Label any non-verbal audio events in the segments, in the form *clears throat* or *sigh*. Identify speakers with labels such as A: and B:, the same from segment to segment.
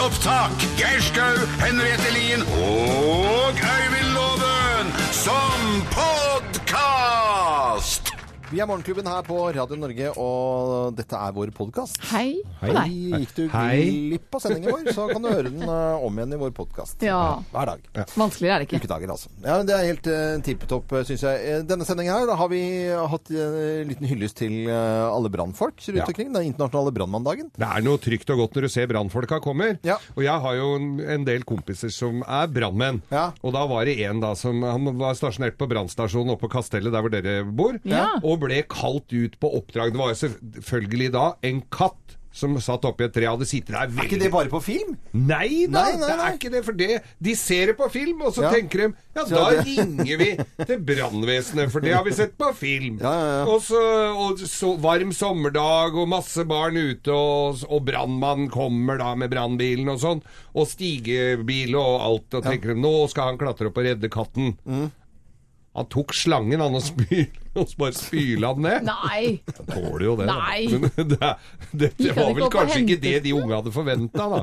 A: opptak. Geir Skau, Henriette Lien og Øyvind Loven som podkast!
B: Vi er Morgenklubben her på Radio Norge, og dette er vår podkast.
C: Hei på deg.
B: Gikk du
D: Hei.
B: glipp av sendingen vår, så kan du høre den eh, om igjen i vår podkast.
C: Ja.
B: Hver dag.
C: Vanskeligere er det ikke.
B: Ukedager, altså. Ja, men Det er helt uh, tipp topp, syns jeg. Eh, Denne sendingen her da har vi hatt eh, en liten hyllest til eh, alle brannfolk rundt
D: Ja.
B: omkring. Den internasjonale brannmanndagen.
D: Det er noe trygt og godt når du ser brannfolka kommer.
B: Ja.
D: Og jeg har jo en, en del kompiser som er brannmenn.
B: Ja.
D: Og da var det en da som Han var stasjonert på brannstasjonen oppe på Kastellet, der hvor dere bor,
C: Ja.
D: og ble kalt ut på oppdrag. Det var jo selvfølgelig da en katt som satt oppi et tre, hadde sittet der
B: Er ikke
D: veldig
B: det bare på film?
D: Nei da,
B: Nei, nei,
D: det
B: nei.
D: er ikke det. For det, de ser det på film, og så
B: Ja.
D: tenker de ja,
B: Så
D: da
B: det-
D: ringer vi til brannvesenet, for det har vi sett på film.
B: Ja, ja, ja.
D: Og, så, og så varm sommerdag og masse barn ute, og, og brannmannen kommer da med brannbilen og sånn, og stigebil og alt, og tenker de, nå skal han klatre opp og redde katten.
B: Mm.
D: Han tok slangen han og, spyl, *laughs* og så bare spyla den ned.
C: *laughs* Nei!
D: Han tåler jo det. da.
C: Nei.
D: Men *laughs* det, er- dette
C: Gikk han ikke
D: var vel
C: opp og
D: kanskje ikke
C: hentet
D: det de unge hadde forventa,
B: *laughs*
D: da.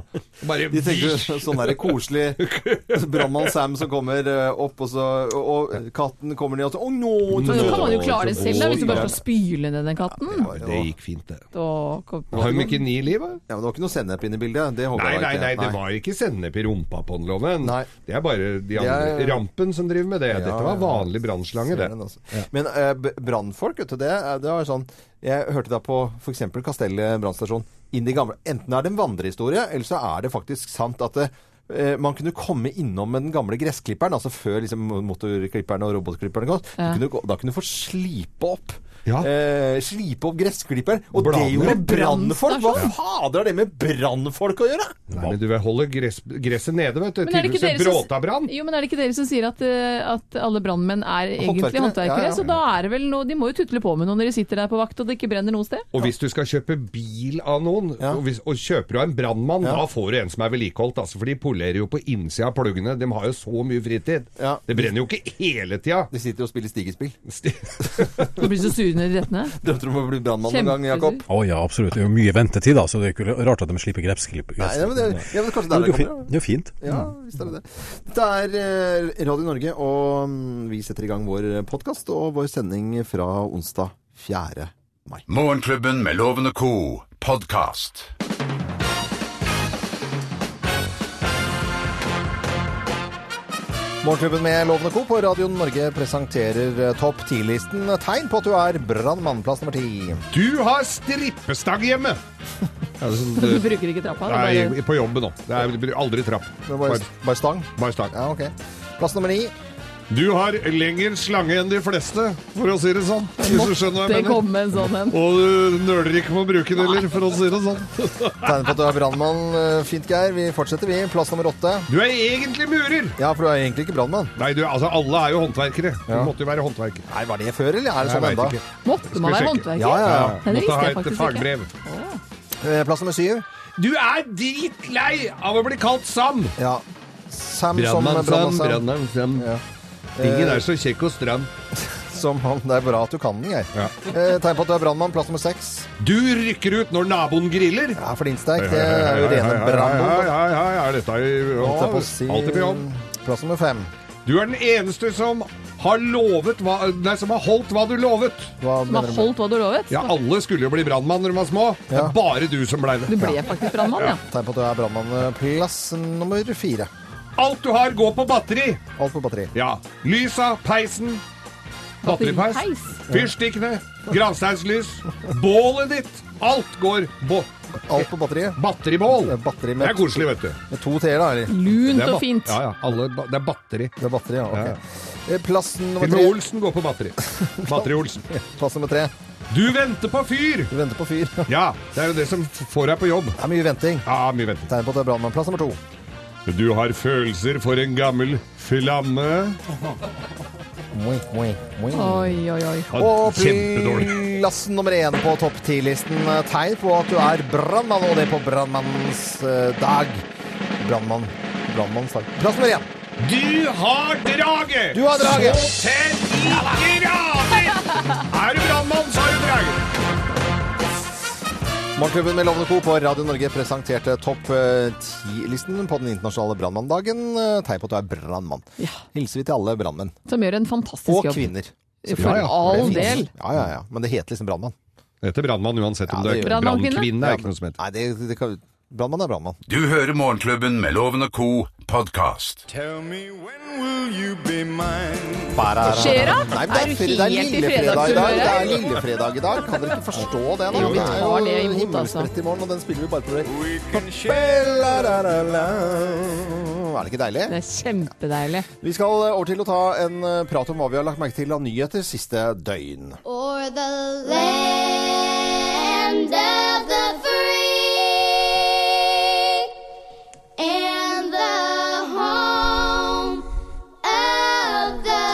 D: Bare
B: De tenkte sånn der koselig
D: *laughs*
B: brannmann Sam som kommer eh, opp, og så Og og katten kommer ned og så Å, nå!
C: Men
B: så-
C: nå kan man jo
D: Åh,
C: klare det
D: så
C: selv, da, hvis du
D: god.
C: bare skal spyle ned den katten.
D: Ja, Det gikk fint, det.
C: Da kom-
D: Har de ikke ni liv, da?
B: Ja, men det var ikke noe sennep inne i bildet. Det håper
D: Nei,
B: jeg da
D: nei,
B: ikke.
D: nei, det var ikke sennep i rumpa på den loven.
B: Nei.
D: Det er bare de
B: er-
D: andre Rampen som driver med det.
B: Ja,
D: Dette var
B: ja, ja.
D: vanlig brannslange,
B: Ser
D: det.
B: den, altså. Men eh, b- brannfolk, vet du det, er- det var sånn Jeg hørte da på f.eks. Kastellet brannstasjon. Inn i gamle Enten er det en vandrehistorie, eller så er det faktisk sant at det eh, man kunne komme innom med den gamle gressklipperen, altså før liksom, motorklipperne og robotklipperne kom.
C: Ja.
B: Du kunne, gå- da kunne du få slipe opp.
D: Ja.
B: Eh, slipe opp gressklipperen. Og
D: Bladene.
B: det gjorde brannfolk! Hva
C: Brannstasjon.
B: fader har det med brannfolk å gjøre?
D: Nei, men du vil holde gress, gresset nede, vet du.
C: Men er, det ikke
D: Tydeligvis en
C: dere som,
D: bråtabrann.
C: jo, men er det ikke dere som sier at, eh, at alle brannmenn er egentlig
B: Håndverkere.
C: håndverkere?
B: Ja, ja.
C: Så da er det vel noe De må jo tutle på med noe når de sitter der på vakt og det ikke brenner noe sted?
D: Og hvis du skal kjøpe bil av noen,
B: Ja.
D: og, hvis, og kjøper du av en brannmann,
B: Ja.
D: da får du en som er vedlikeholdt, altså, for de polerer jo på innsida av pluggene. De har jo så mye fritid.
B: Ja.
D: Det brenner jo ikke hele tida.
B: De sitter og spiller *laughs* stigespill.
C: Du blir så sur ned i rettene.
B: Drømte du om å bli brannmann noen gang, Jakob?
C: Kjempesur.
E: Å ja, absolutt. Det er jo mye ventetid, da, så det er ikke rart at de slipper grepsklipp.
B: Nei, ja, men det, ja, men kanskje
E: det,
B: der
E: er
B: det
E: jo fint.
B: kommer fra.
E: det er jo fint.
B: Ja, visst er det det. Dette er eh, Radio Norge, og mm, vi setter i gang vår podkast og vår sending fra onsdag 4. mai.
A: Morgenklubben med Loven og co. podkast.
B: Morgenklubben med Lovende Co. på Radio Norge presenterer eh, topp 10-listen tegn på at du er brannmann, plass nummer ti.
D: Du har strippestang hjemme! Ja, det er sånn,
C: Du
D: du-
C: bruker ikke trappa. Det
D: Nei,
C: er bare,
D: på jobben nå. Det er blir aldri trapp.
B: Det var Bare,
D: Bare,
B: bare stang?
D: bare stang.
B: Ja, ok. Plass nummer ni.
D: Du har lengre slange enn de fleste, for å si det sånn. Hvis du skjønner hva
C: det
D: jeg mener.
C: kom en sånn en.
D: Og du nøler ikke med å bruke den heller, for å si det sånn.
B: Tegn på at du er brannmann. eh, Fint, Geir. Vi fortsetter, vi. Plass nummer åtte.
D: Du er egentlig murer!
B: Ja, for du er egentlig ikke brannmann.
D: Nei, du, altså alle er jo håndverkere. Du
B: Ja.
D: måtte jo være håndverker.
B: Nei, var det før, eller er det
D: Jeg
B: sånn
D: vet
B: ennå?
D: ikke.
C: Måtte man
D: Skal vi
C: være
D: sjekke?
C: håndverker?
B: Ja, ja, ja.
C: Nei, det
D: Måtte
C: visste
D: ha
C: jeg
D: et
C: faktisk ikke.
D: fagbrev.
B: Eh, Plass nummer syv.
D: Du er dritlei av å bli kalt Sam!
B: Ja. Sam som brannmann. Sam.
D: Sam.
B: Ja.
D: Ingen er så kjekk og stram.
B: Som han, det er bra at du kan den, Geir.
D: Ja.
B: Eh, tegn på at du er brannmann, plass nummer seks.
D: Du rykker ut når naboen griller.
B: Ja, for din sterk. Det er jo rene
D: Ja, ja,
B: brannmann.
D: ja, ja, ja, dette er jo
B: holdt jeg
D: ja,
B: på å si.
D: alltid på jobb.
B: Plass nummer fem.
D: Du er den eneste som har lovet hva, Nei, som har holdt hva du lovet.
B: Hva
C: Som har
B: mener du? med-
C: holdt hva du lovet?
D: Ja, alle skulle jo bli brannmann når de var små. Det
B: Ja.
D: er bare du som blei
C: Du
D: det.
C: ble faktisk brannmann, ja.
B: Tegn på at du er brannmann. Eh, Plass nummer fire.
D: Alt du har, går på batteri.
B: Alt på batteri.
D: Ja. Lysa, peisen, batteripeis,
C: Batteripeis.
D: fyrstikkene, gravsteinslys, bålet ditt. Alt går på
B: Alt på batteri.
D: batteribål.
B: Det er batteri
D: Det
B: med,
D: er koselig, vet du.
B: med to t-er, da. eller?
D: Det
C: Lunt
D: er
C: og
D: ba-
C: fint.
D: Ja, ja. Alle, ba- det er batteri.
B: Det er batteri, ja.
D: Ja,
B: ok. Eh, Plass nummer
D: Til og med
B: tre.
D: Olsen går på batteri. Batteri-Olsen.
B: Plass nummer tre.
D: Du venter på fyr!
B: Du venter på fyr. *laughs* Det
D: Ja, det er jo det som f- får deg på jobb.
B: er mye venting.
D: Ja, mye venting.
B: Tegn på at du er brannmann. Plass nummer to.
D: Du har følelser for en gammel flamme.
B: Moi, moi, moi.
C: Oi, oi, oi.
D: Ja,
B: Og
D: Kjempedårlig.
B: plass nummer én på topp ti-listen tegn på at du er brannmann, og det på brannmannens eh, dag. Brannmann. Brannmannens dag. Plass nummer én.
D: Du har draget!
B: Du har draget.
D: Så til i grader! Er du brannmann, så har du draget.
B: Morgenklubben med Lovende Co. på Radio Norge presenterte topp eh, 10-listen på den internasjonale brannmanndagen. Eh, Tegn på at du er brannmann.
C: Ja.
B: Hilser vi til alle brannmenn.
C: Som gjør en fantastisk
B: Og
C: jobb.
B: kvinner.
C: For
D: Ja, ja.
C: all
B: Det finnes.
C: del.
B: Ja, ja, ja. Men det heter liksom brannmann.
D: Dette er brannmann uansett om
B: Ja,
D: du
B: det
D: er
C: gjør det.
D: brannkvinne. er ikke noe som heter.
B: Nei, det, det kan... Brannmann er brannmann.
A: Du hører Morgenklubben med Loven og Co. podkast.
F: Tell me when will you be mine?
B: Bare-
C: skjer da?
B: Nei,
C: Er
B: men det er,
C: du
B: fri- det er
C: helt i
B: lillefredag i dag.
C: fredagshumør
B: Det
C: her?
B: er lillefredag i dag. Kan dere ikke forstå det? nå?
C: Jo, vi
B: det er
C: tar det imot, altså.
B: himmelsbrett i morgen, og den spiller vi bare på break.
F: We can share
B: Er det ikke deilig?
C: Det er kjempedeilig.
B: Vi skal over til å ta en eh, prat om hva vi har lagt merke til av nyheter siste døgn.
G: O'er the land of the free and the home of the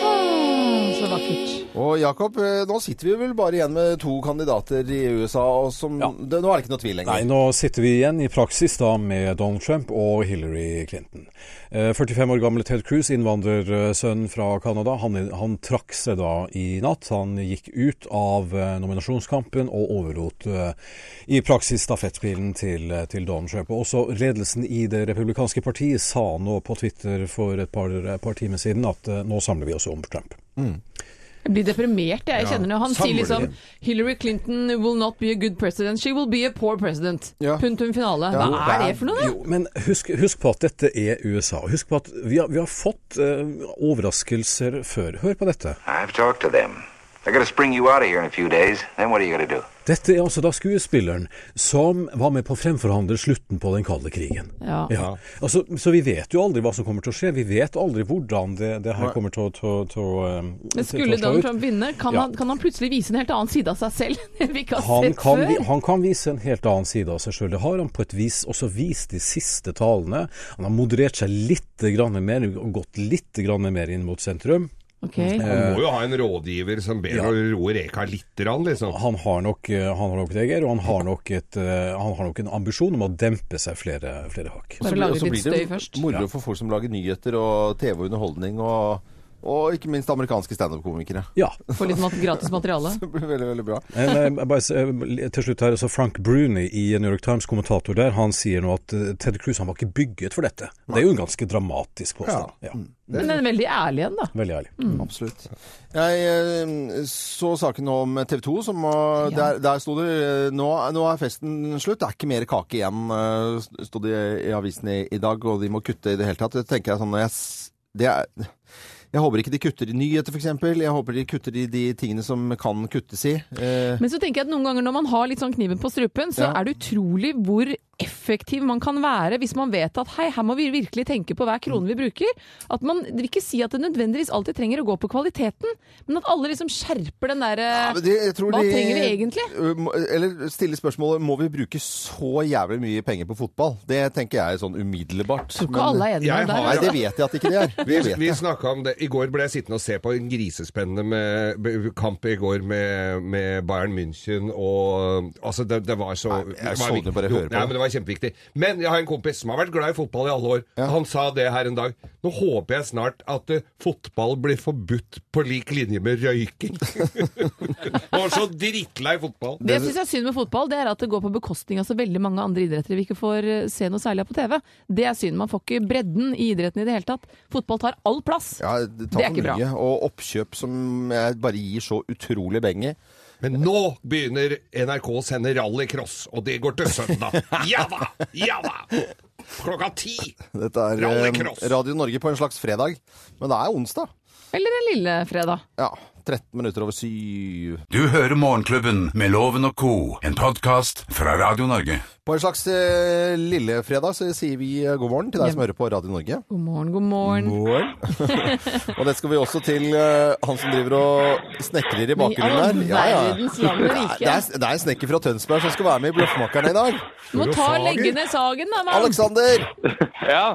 G: brave.
C: Så vakkert.
B: Og Jakob, eh, nå sitter vi vel bare igjen med to kandidater i USA, og som, det, nå er det ikke noe tvil lenger.
E: Nei, nå sitter vi igjen i praksis da med Donald Trump og Hillary Clinton. Eh, 45 år gamle Ted Cruz, innvandrersønn fra Canada, han, han trakk seg da i natt. Han gikk ut av eh, nominasjonskampen og overlot eh, i praksis stafettpilen til, eh, til Donald Trump. Og også ledelsen i det republikanske partiet sa nå på Twitter for et par, par timer siden at eh, nå samler vi oss om Trump.
C: Jeg blir deprimert, jeg. jeg kjenner det. Han sier
E: samler
C: liksom
E: det.
C: Hillary Clinton will not be a good president, she will be a poor president.
B: Ja.
C: Punktum finale.
B: Ja.
C: Hva er det for noe, da?
E: Jo, men husk, husk på at dette er USA. Husk på at vi har, vi har fått eh, overraskelser før. Hør på dette.
H: I've talked to them. They're going to spring you out of here in a few days. Then what are you going to do?
E: Dette er altså da skuespilleren som var med på å fremforhandle slutten på den kalde krigen.
C: Ja.
E: Ja. Altså, så vi vet jo aldri hva som kommer til å skje. Vi vet aldri hvordan det, det her kommer til å til å- til å, eh, til-
C: Men
E: til
C: skulle
E: å slå
C: Donald
E: ut.
C: Trump vinne, kan,
E: Ja.
C: han, kan han plutselig vise en helt annen side av seg selv *laughs* enn vi ikke har
E: han
C: sett
E: kan,
C: før?
E: vi- han kan vise en helt annen side av seg sjøl. Det har han på et vis også vist de siste talene. Han har moderert seg litt grann mer, og gått litt grann mer inn mot sentrum.
C: Ok.
D: Han må jo ha en rådgiver som ber
E: Ja.
D: å roe reka litt, grann, liksom.
E: han har nok, eh, han har nok det, Geir, og han har nok, et, eh, han har nok en ambisjon om å dempe seg flere, flere hakk.
C: Bare
B: blir-
C: lage
B: så
C: litt
B: blir det
C: støy først.
B: Moro for folk som lager nyheter og TV og underholdning, og, og ikke minst amerikanske standup-komikere.
E: Ja.
C: Få litt mat gratis materiale.
B: Det blir veldig, veldig bra.
E: Eh, nei, jeg bare, s- eh, til slutt her, altså Frank Bruni i New York Times, kommentator der, han sier nå at eh, Ted Cruz han var ikke bygget for dette. Det er jo en ganske dramatisk påstand. Ja.
C: Men den er veldig ærlig en, da.
E: Veldig ærlig.
C: Mm.
B: Absolutt. Jeg eh, så saken om TV 2, som eh,
C: Ja.
B: der, der sto det eh, nå, nå er festen slutt, det er ikke mer kake igjen, eh, sto det i avisen i, i dag, og de må kutte i det hele tatt. Det tenker jeg sånn når jeg s- det er, Jeg håper ikke de kutter i nyheter, f.eks. Jeg håper de kutter i de tingene som kan kuttes i. Eh,
C: Men så tenker jeg at noen ganger når man har litt sånn kniven på strupen, så
B: Ja.
C: er det utrolig hvor effektiv man kan være hvis man vet at hei, her må vi virkelig tenke på hver krone vi bruker. At man det vil ikke si at det nødvendigvis alltid trenger å gå på kvaliteten, men at alle liksom skjerper den derre
B: Ja, men de, jeg tror
C: Hva
B: de,
C: trenger vi egentlig?
B: Uh, må- Eller stille spørsmålet må vi bruke så jævlig mye penger på fotball? Det tenker jeg sånn umiddelbart.
C: Tror ikke
B: men-
C: alle er enige
D: Jeg
C: med deg
D: har-
B: Nei,
C: der.
B: det vet jeg at ikke det er. Det
D: Vi,
B: vet
D: vi
B: jeg.
D: snakket om det. I går ble jeg sittende og se på en grisespennende med, b- kamp i går med, med Bayern München og Altså, det, det var så
B: Nei, jeg
D: det var
B: så
D: viktig.
B: det bare
D: Jo,
B: høre på.
D: Nei, men det var kjempeviktig. Men jeg har en kompis som har vært glad i fotball i alle år. Han sa det her en dag. Nå håper jeg snart at eh, fotball blir forbudt på lik linje med røyking. *laughs* Han var så drittlei fotball.
C: Det jeg syns er synd med fotball, det er at det går på bekostning av så veldig mange andre idretter vi ikke får eh, se noe særlig av på TV. Det er synd. Man får ikke bredden i idretten i det hele tatt. Fotball tar all plass.
B: Ja, det
C: Det
B: tar
C: er
B: for
C: ikke bra.
B: mye. Og oppkjøp som jeg bare gir så utrolig beng i.
D: Men nå begynner NRK å sende rallycross, og det går til
B: *laughs*
D: søndag. Ja da! Ja da! Klokka ti!
B: Dette er eh,
D: Rallycross.
B: Radio Norge på en slags fredag. Men det er onsdag.
C: Eller en lille fredag.
B: Ja. 13 minutter over syv.
A: Du hører Morgenklubben med Loven og Co., en podkast fra Radio Norge.
B: På en slags eh, lille fredag så sier vi eh, god morgen til deg som hører på Radio Norge.
C: God morgen, god morgen.
B: *laughs* Og det skal vi også til eh, han som driver og snekrer i bakgrunnen
C: I all
B: her. Ja, ja.
C: verdens land og rike.
B: *laughs* Det er, det er en snekker fra Tønsberg som skal være med i Bløffmakerne i dag.
C: Må ta legge ned sagen, da, mann.
B: Alexander!
I: Ja,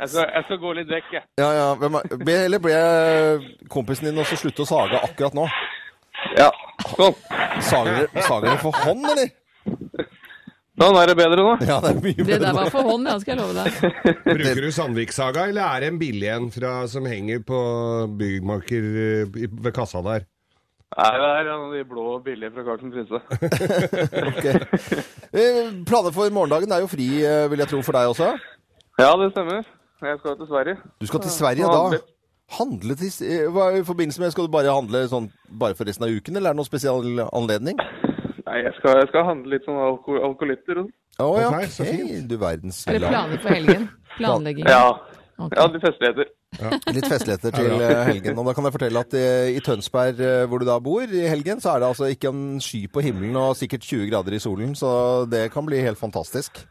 I: jeg skal, jeg skal gå litt vekk, jeg.
B: Ja, ja, hvem er, be, eller ble kompisen din også slutte å sage akkurat nå?
I: Ja, sånn.
B: Sager, sager du for hånd, eller?
I: Sånn, er det bedre nå?
B: Ja, det er mye
C: Det
B: bedre.
C: der var for hånd, ja, skal jeg love deg.
D: Bruker du Sandvikssaga, eller er det en billig en fra- som henger på byggmaker eh, i- ved kassa der?
I: Nei, det er en av de blå og billige fra Carlsen Prinse.
B: Ok. Eh, Planer for morgendagen er jo fri, eh, vil jeg tro, for deg også.
I: Ja, det stemmer. Jeg skal til Sverige.
B: Du skal til Sverige da.
I: Handle.
B: Handle til eh, hva, I forbindelse med Skal du bare handle sånn bare for resten av uken, eller er det noen spesiell anledning?
I: Nei, jeg skal, jeg skal handle litt sånn alko alkoholitter og sånn.
B: Å ja,
D: Ok, så
B: ok. Du verdens
C: Er det planer for helgen? Planlegging?
I: Ja.
C: Ok.
I: ja, de festligheter.
B: Litt festligheter til eh, helgen. Og da kan jeg fortelle at eh, i Tønsberg, eh, hvor du da bor, i helgen, så er det altså ikke en sky på himmelen og sikkert 20 grader i solen, så det kan bli helt fantastisk.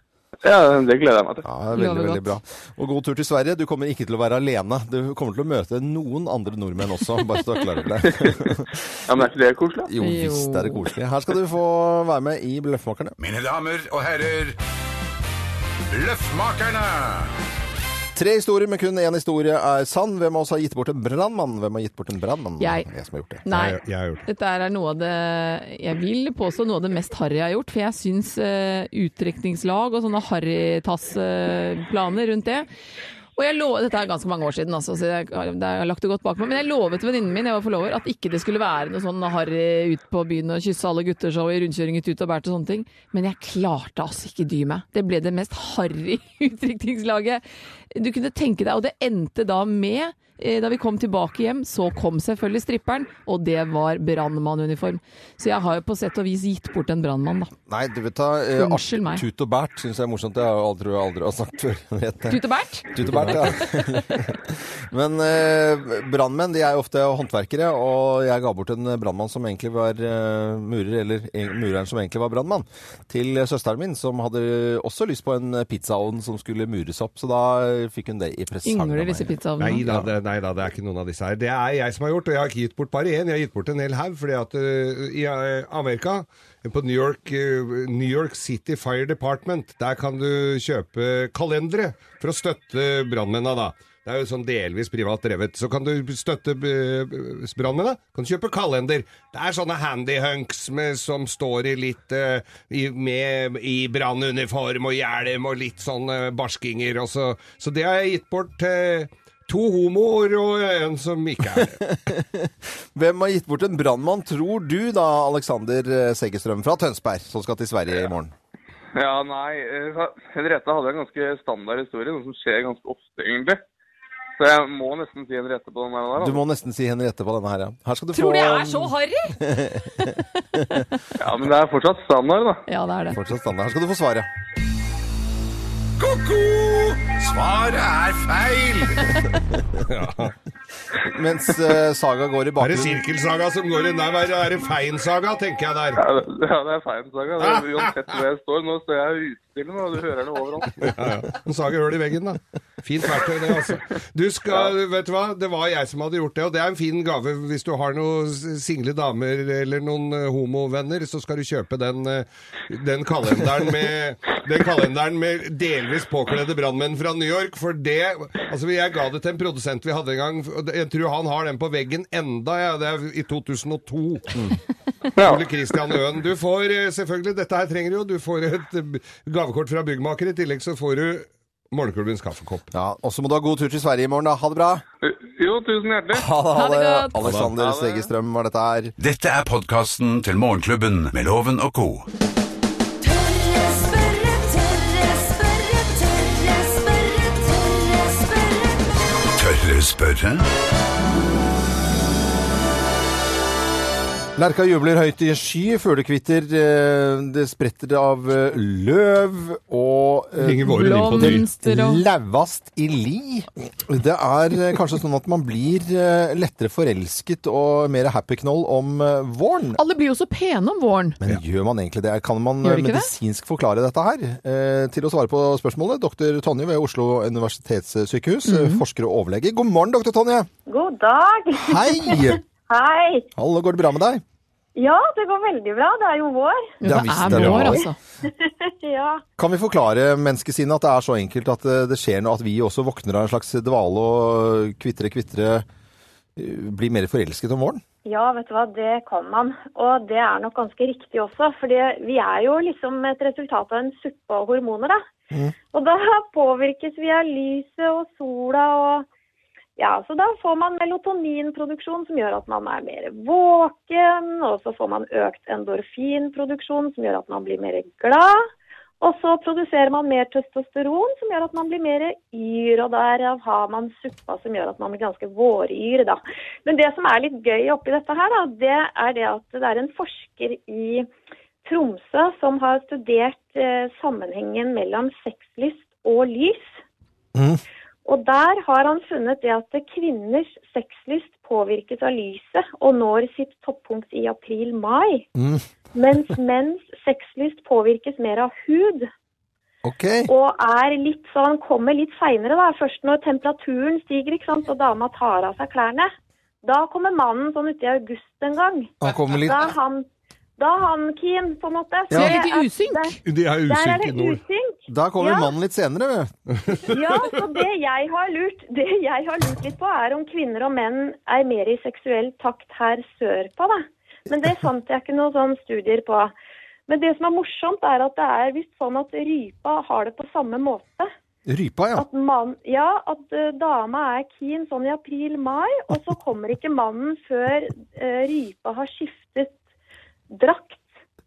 I: Ja, det gleder jeg meg til.
B: Ja, det er veldig,
C: Lover
B: veldig bra. Og god tur til Sverige. Du kommer ikke til å være alene. Du kommer til å møte noen andre nordmenn også, bare så du er klar over det.
C: *laughs*
I: Ja, Men er ikke det koselig? da?
B: Jo visst er det koselig. Her skal du få være med i Bløffmakerne.
A: Mine damer og herrer, Løffmakerne!
B: Tre historier, men kun én historie er sann. Hvem av oss har gitt bort en brannmann? Hvem har gitt bort en brannmann?
C: Jeg.
B: som har gjort det.
C: Nei.
D: Jeg, jeg har gjort det.
C: Dette er noe av det Jeg vil påstå noe av det mest harry jeg har gjort. For jeg syns uh, utdrikningslag og sånne harrytassplaner rundt det og jeg lo, Dette er ganske mange år siden, altså, så jeg, har- det har jeg lagt det godt bak meg. Men jeg lovet venninnen min jeg var forlover, at ikke det skulle være noe sånn harry ut på byen og kysse alle gutter så i rundkjøring ut og bært og sånne ting. Men jeg klarte altså ikke dy meg. Det ble det mest harry *laughs* utdrikningslaget du kunne tenke deg. Og det endte da med Eh, Da vi kom tilbake hjem, så kom selvfølgelig stripperen, og det var brannmannuniform. Så jeg har jo på sett og vis gitt bort en brannmann, da.
B: Nei, du vet da. eh,
C: Unnskyld meg.
B: Tut og bært syns jeg er morsomt. Det har jeg aldri, aldri har sagt før. *laughs* Jeg vet det.
C: Tut og bært!
B: Tut og bært, ja. *laughs* Men eh, brannmenn de er jo ofte håndverkere, og jeg ga bort en brannmann som egentlig var eh, murer, eller en- mureren som egentlig var brannmann, til søsteren min, som hadde også lyst på en pizzaovn som skulle mures opp, så da fikk hun det i presang. av
C: Yngler
B: meg.
C: disse
D: Nei
C: pizzaovnene.
D: da, det, nei da, det er ikke noen av disse her. Det er jeg som har gjort, og jeg har ikke gitt bort bare én. Jeg har gitt bort en hel haug, fordi at øh, i øh, Amerika, på New York, øh, New York City Fire Department, der kan du kjøpe kalendere for å støtte brannmennene, da. Det er jo sånn delvis privat drevet. Så kan du støtte øh, brannmennene, kan du kjøpe kalender. Det er sånne handyhunks med, som står i litt øh, i, med, i brannuniform og hjelm og litt sånn øh, barskinger. Og så, så det har jeg gitt bort eh, til To homoer og en som ikke er det.
B: Hvem har gitt bort en brannmann, tror du da, Alexander Seggestrøm fra Tønsberg, som skal til Sverige i morgen?
I: Ja, nei, eh, Henriette hadde en ganske standard historie, noe som skjer ganske ofte, egentlig. Så jeg må nesten si Henriette på den der.
B: Du
I: Da.
B: må nesten si Henriette på denne her, ja. Her skal du få
C: Tror det er så harry!
I: Ja, Men det er fortsatt standard, da.
C: Ja, det er det.
B: Fortsatt standard. Her skal du få svaret.
A: Ko-ko! Svaret er feil!
B: Mens eh, Saga går i
D: Er det
B: bakgrunnen.
D: sirkelsaga som går inn der? Er det feinsaga, tenker jeg der.
I: Ja, det, ja, det er feil, Saga. Det er Uansett hvor jeg står. Nå står jeg utstille, og du hører det overalt.
D: *laughs* Ja, ja. En saga høl i veggen, da. Fint verktøy, det, altså. Du skal, vet du hva, det var jeg som hadde gjort det, og det er en fin gave hvis du har noen single damer eller noen eh, homovenner, så skal du kjøpe den, eh, den kalenderen med den kalenderen med delvis påkledde brannmenn fra New York, for det Altså, jeg ga det til en produsent vi hadde en gang, og jeg tror han har den på veggen enda, ja, det er i 2002.
I: Ja.
D: Ole Kristian Øen, du får eh, selvfølgelig, dette her trenger du jo, du får et eh, gavekort fra byggmaker, i tillegg så får du morgenklubbens kaffekopp.
B: Ja, og så må du ha god tur til Sverige i morgen, da. Ha det bra.
I: Eh, Jo, tusen hjertelig.
B: Ha det, ha
C: Ha det
B: det.
C: godt.
B: Alexander Stegestrøm var dette her.
A: Dette er podkasten til Morgenklubben med Loven og co.
G: Tørre spørre, tørre spørre, tørre spørre, tørre spørre.
A: Tørre spørre?
B: Lerka jubler høyt i sky, fuglekvitter, eh, det spretter av eh, løv og eh,
D: Ringer våre inn på ny.
C: Blomster og
B: Lauvast i li. Det er eh, kanskje sånn at man blir eh, lettere forelsket og mer happy knoll om eh, våren.
C: Alle blir jo så pene om våren.
B: Men gjør man egentlig det? Kan man
C: Gjør
B: eh,
C: det ikke det?
B: medisinsk forklare dette her? Eh, til å svare på spørsmålet, doktor Tonje ved Oslo universitetssykehus, eh,
C: Mhm.
B: forsker og overlege. God morgen, doktor Tonje!
J: God dag.
B: Hei!
J: Hei.
B: Hallo, går det bra med deg?
J: Ja, det går veldig bra. Det er jo vår.
C: Jo,
B: Ja,
C: det
B: visst
C: er
B: er det
C: vår,
B: vår.
C: altså.
J: Ja.
B: Kan vi forklare menneskesinnet at det er så enkelt at eh, det skjer noe, at vi også våkner av en slags dvale og kvitre, kvitre eh, blir mer forelsket om våren.
J: Ja, vet du hva, det kan man. Og det er nok ganske riktig også. For vi er jo liksom et resultat av en suppe av hormoner, da. Og da påvirkes vi av lyset og sola og Ja, så da får man melatoninproduksjon som gjør at man er mer våken. Og så får man økt endorfinproduksjon som gjør at man blir mer glad. Og så produserer man mer testosteron som gjør at man blir mer yr, og derav har man suppa som gjør at man blir ganske våryr, da. Men det som er litt gøy oppi dette her, da, det er det at det er en forsker i Tromsø som har studert eh, sammenhengen mellom sexlyst og lys. Og der har han funnet det at kvinners sexlyst påvirkes av lyset og når sitt toppunkt i april-mai. Mens menns sexlyst påvirkes mer av hud.
B: Ok.
J: Og er litt sånn, kommer litt seinere, da. Først når temperaturen stiger ikke sant, og dama tar av seg klærne. Da kommer mannen sånn uti august en gang.
B: Han kommer litt
J: Da er han, da er han keen, på en måte.
B: Ja. Så det er
C: litt i usynk.
J: Der,
D: De er
J: der er
D: usynke
J: det
D: nå.
J: usynk.
B: Da kommer
J: Ja.
B: mannen litt senere. vet du.
J: Ja, så det jeg har lurt, det jeg har lurt litt på, er om kvinner og menn er mer i seksuell takt her sørpå, da. Men det fant jeg ikke noen sånne studier på. Men det som er morsomt, er at det er visst sånn at rypa har det på samme måte.
B: Rypa, ja.
J: At mann, ja, at eh, dama er keen sånn i april-mai, og så kommer ikke mannen før eh, rypa har skiftet drakt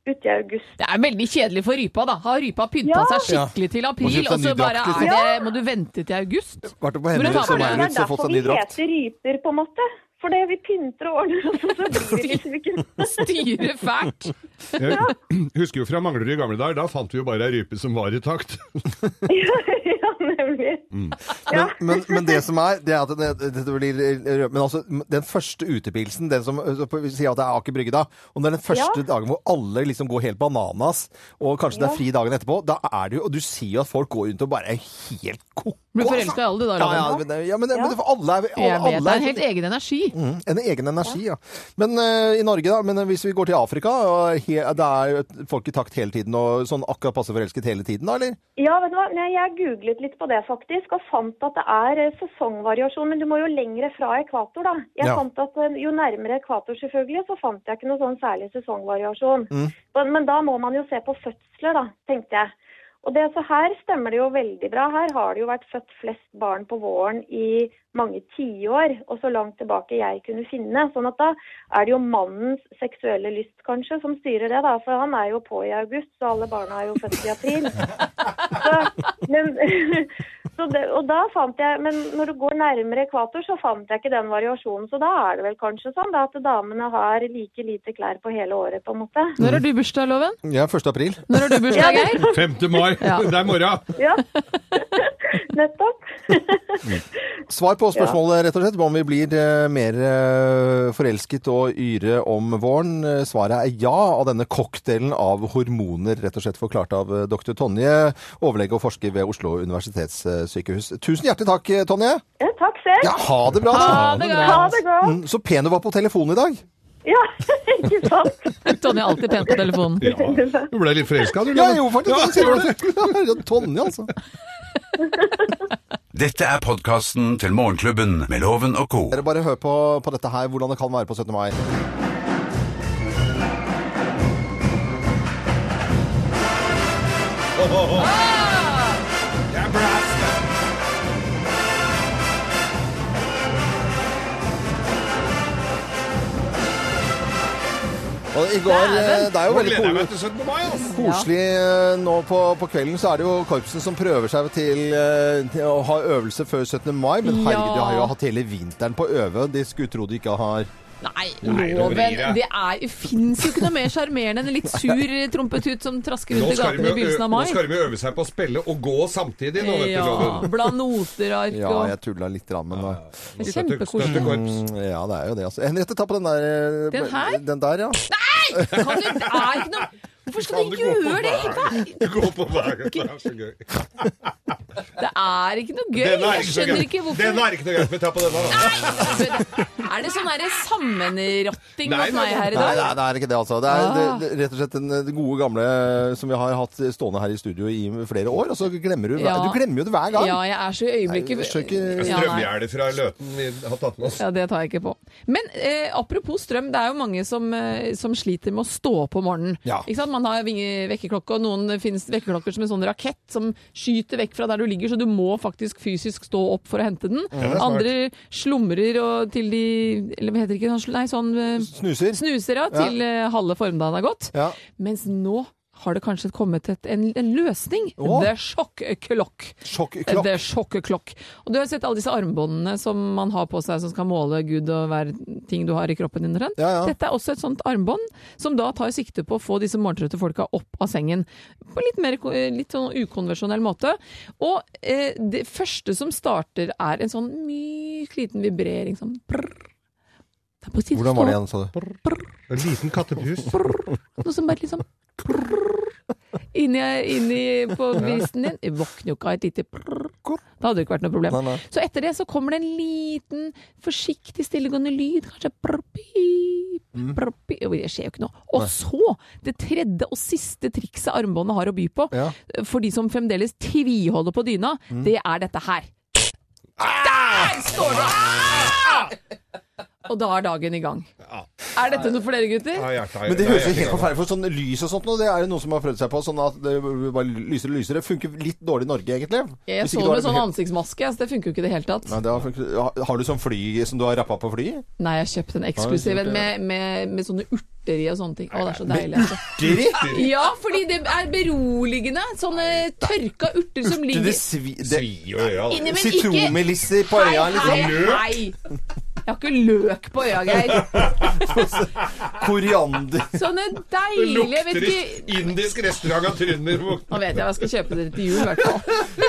J: uti august.
C: Det er veldig kjedelig for rypa, da. Har rypa pynta
J: Ja.
C: seg skikkelig til april,
B: kjøpt seg
C: og så
B: ny
C: bare
B: drakt,
C: er det Må du vente til august?
B: Vært på
C: Hvordan
B: Henriks
C: tar man
B: og
C: det?
J: Det er
B: Maurits og fått
J: derfor
B: seg
J: vi
B: ny drakt.
J: heter ryper, på en måte. Fordi vi pynter og ordner oss, og så blir vi liksom
B: *laughs*
J: ikke *laughs*
C: Styre fælt!
D: Jeg *clears throat* husker jo fra Manglerud i gamle dager, da fant vi jo bare ei rype som var i takt. *laughs*
J: Ja, nemlig.
B: Men, men, men det som er, det er at det, det det blir Men altså, den første utepilsen, den som altså, på- vi sier at det er Aker Brygge da, om det er den første
J: Ja.
B: dagen hvor alle liksom går helt bananas, og kanskje det er fri dagen etterpå, da er det jo Og du ser jo at folk går rundt og bare er helt ko-ko.
C: Blir
B: altså.
C: forelska i alle, du da,
B: Ja, ja,
C: Robin.
B: men, det- ja, men, det- men det- for alle er, alle,
C: Jeg vet,
B: alle
C: det
B: er
C: er en helt egen energi.
B: Mm, En egen energi, ja. Men eh, i Norge, da. Men hvis vi går til Afrika, og he, det er jo folk i takt hele tiden og sånn akkurat passe forelsket hele tiden, da, eller?
J: Ja, vet du hva? Nei, jeg googlet litt på det faktisk, og fant at det er eh, sesongvariasjon. Men du må jo lengre fra ekvator, da. Jeg
B: Ja.
J: fant at eh, Jo nærmere ekvator, selvfølgelig, så fant jeg ikke noe sånn særlig sesongvariasjon. Men, men da må man jo se på fødsler, da, tenkte jeg. Og det, så her stemmer det jo veldig bra. Her har det jo vært født flest barn på våren i mange tiår, og så langt tilbake jeg kunne finne. Sånn at da er det jo mannens seksuelle lyst kanskje som styrer det, da. For han er jo på i august, så alle barna er jo født i april. Så, men, *laughs* så det, og da fant jeg, men når du går nærmere ekvator, så fant jeg ikke den variasjonen. Så da er det vel kanskje sånn da, at damene har like lite klær på hele året, på en måte.
C: Når har du bursdag, Loven?
B: Ja, 1. april.
C: Når har du bursdag, Geir?
D: 5. mai,
C: Ja.
D: *laughs* det er morgen!
J: Ja, nettopp.
B: Svar på spørsmålet, rett og slett, om vi blir eh, mer eh, forelsket og yre om våren. Eh, Svaret er ja av denne cocktailen av hormoner, rett og slett forklart av eh, dr. Tonje, overlege og forsker ved Oslo universitetssykehus. Tusen hjertelig takk, eh, Tonje.
J: Ja, takk selv.
B: Ja, ha det bra, da.
C: Ha det
J: Ha
C: godt!
J: det godt.
B: Mm, Så pen du var på telefonen i dag.
J: Ja, *laughs* ikke sant?
C: Tonje er alltid pen på telefonen.
D: Ja. Du ble litt forelska, du?
B: Ja,
D: Loven.
B: jo, faktisk. Ja, sier du det. *laughs* Ja, Tonje, altså.
A: Dette er podkasten til Morgenklubben med Loven og co.
B: Dere bare hør på, på dette her, hvordan det kan være på 17.
D: Ah,
B: mai. Og i går, eh, det er jo
D: Nå
B: veldig
D: gleder jeg
B: cool.
D: meg til 17. mai, altså. ass!
B: Koselig eh, nå på, på kvelden, så er det jo korpsen som prøver seg til, eh, til å ha øvelse før 17. mai. Men
C: Ja.
B: herregud, de har jo hatt hele vinteren på å øve. De skulle tro de ikke har
C: Nei,
D: Nei, nå
C: Loven.
D: vrir jeg.
C: Det er, fins jo ikke noe mer sjarmerende enn en litt sur trompetut som trasker
D: Nå
C: rundt i
D: skal, de
C: gatene i
D: jo ø-
C: begynnelsen av
D: nå
C: mai.
D: skal de jo øve seg på å spille og gå samtidig, nå, vet du,
C: Ja,
D: Loven.
C: bla noter og ark
B: Ja,
C: og
B: jeg tulla litt, grann, men da-
C: Det er
D: Støtte-
C: Kjempekoselig. Mm.
D: støttekorps.
B: Ja, det er jo det, altså. Henriette, ta på den der eh,
C: Den her?
B: Den der, ja.
C: Kan du- Det er ikke noe Hvorfor skal du gjøre det?
D: Du går på hver gang. Det er så gøy.
C: Det er ikke noe gøy.
D: Denne er
C: Jeg
D: ikke så
C: skjønner
D: gøy.
C: ikke hvorfor
D: Denne er ikke noe gøy. Men ta på denne, da.
C: *laughs* Er det sånn derre sammenrotting
D: Nei,
C: mot meg her Ah. i
B: Nei,
C: dag?
B: nei, det er ikke det, altså. Det er det, det, rett og slett den eh, gode gamle eh, som vi har hatt stående her i studio i flere år, og så glemmer du hver,
C: Ja.
B: Du glemmer jo det hver gang.
C: Ja, jeg er så i øyeblikket
B: Nei, jeg skjønner
C: Ja,
B: ikke-
C: nei.
D: Strømgjerdet fra Løten vi har tatt med oss.
C: Ja, det tar jeg ikke på. Men eh, apropos strøm, det er jo mange som, eh, som sliter med å stå opp om morgenen.
B: Ja.
C: Ikke sant? Man har vinge- vekkerklokke, og noen det finnes vekkerklokker som en sånn rakett som skyter vekk fra der du ligger, så du må faktisk fysisk stå opp for å hente den. Andre slumrer og til de Eller hva heter det ikke? sånn sl- Nei, sånn eh,
B: Snuser.
C: snuser, ja. Til eh, halve formdagen er gått.
B: Ja.
C: Mens nå har det kanskje kommet et, en, en løsning.
B: Åh.
C: The shock clock.
B: Sjokklokk.
C: Det er sjokkeklokk. Og du har sett alle disse armbåndene som man har på seg, som skal måle Gud og hver ting du har i kroppen din. Trond.
B: Ja, ja.
C: Dette er også et sånt armbånd, som da tar sikte på å få disse morgentrøtte folka opp av sengen. På litt mer ko- eh, litt sånn ukonvensjonell måte. Og eh, det første som starter, er en sånn myk liten vibrering. Sånn prrr. Det er på tide å
B: Hvordan var
C: stå
B: det igjen, sa du?
D: En liten kattepus.
C: noe som bare liksom prrr, inni, inni på bristen din. Jeg våkner jo ikke av et lite prrr. Det hadde det ikke vært noe problem.
B: Nei, nei.
C: Så etter det så kommer det en liten, forsiktig, stillegående lyd. Kanskje prrr, pip,
B: Mm.
C: prrr, pip. Jo, Det skjer jo ikke noe. Og så, det tredje og siste trikset armbåndet har å by på,
B: Ja. Mm.
C: for de som fremdeles tviholder på dyna, det er dette her.
B: Ah!
C: Der står det! Og da er dagen i gang. Er dette noe for dere, gutter?
D: Ja, hjertet er-
B: Men det
D: Nei,
B: høres jo
D: jeg er
B: helt
D: ikke
B: forferdelig ut. Sånn lys og sånt nå, det er jo noen som har prøvd seg på. Sånn at det bare lyser og lyser. Det funker litt dårlig i Norge, egentlig.
C: Jeg
B: Hvis
C: så
B: ikke du har
C: med
B: en
C: sånn
B: helt-
C: ansiktsmaske, så det funker jo ikke i det hele tatt.
B: Nei, det har, funket- har du sånn fly som du har rappa på flyet?
C: Nei, jeg har kjøpt en eksklusiv en med, med, med sånne urter i og sånne ting. Å, det er så deilig. altså.
B: Diri?
C: Ja, fordi det er beroligende. Sånne tørka urter som ligger
B: Det svi...
D: Det
B: Det...
D: svir jo i øya, da.
C: inni, men ikke Hei,
B: Sitronmelisser på øya,
C: hei,
B: liksom.
C: hei! Jeg har ikke løk på øya, Geir.
B: Koriander. *laughs*
C: Sånne
D: Det
C: deilige jeg vet
D: lukter
C: ikke...
D: indisk restaurant av trønder.
C: Nå vet jeg hva jeg skal kjøpe dere til jul, i hvert fall.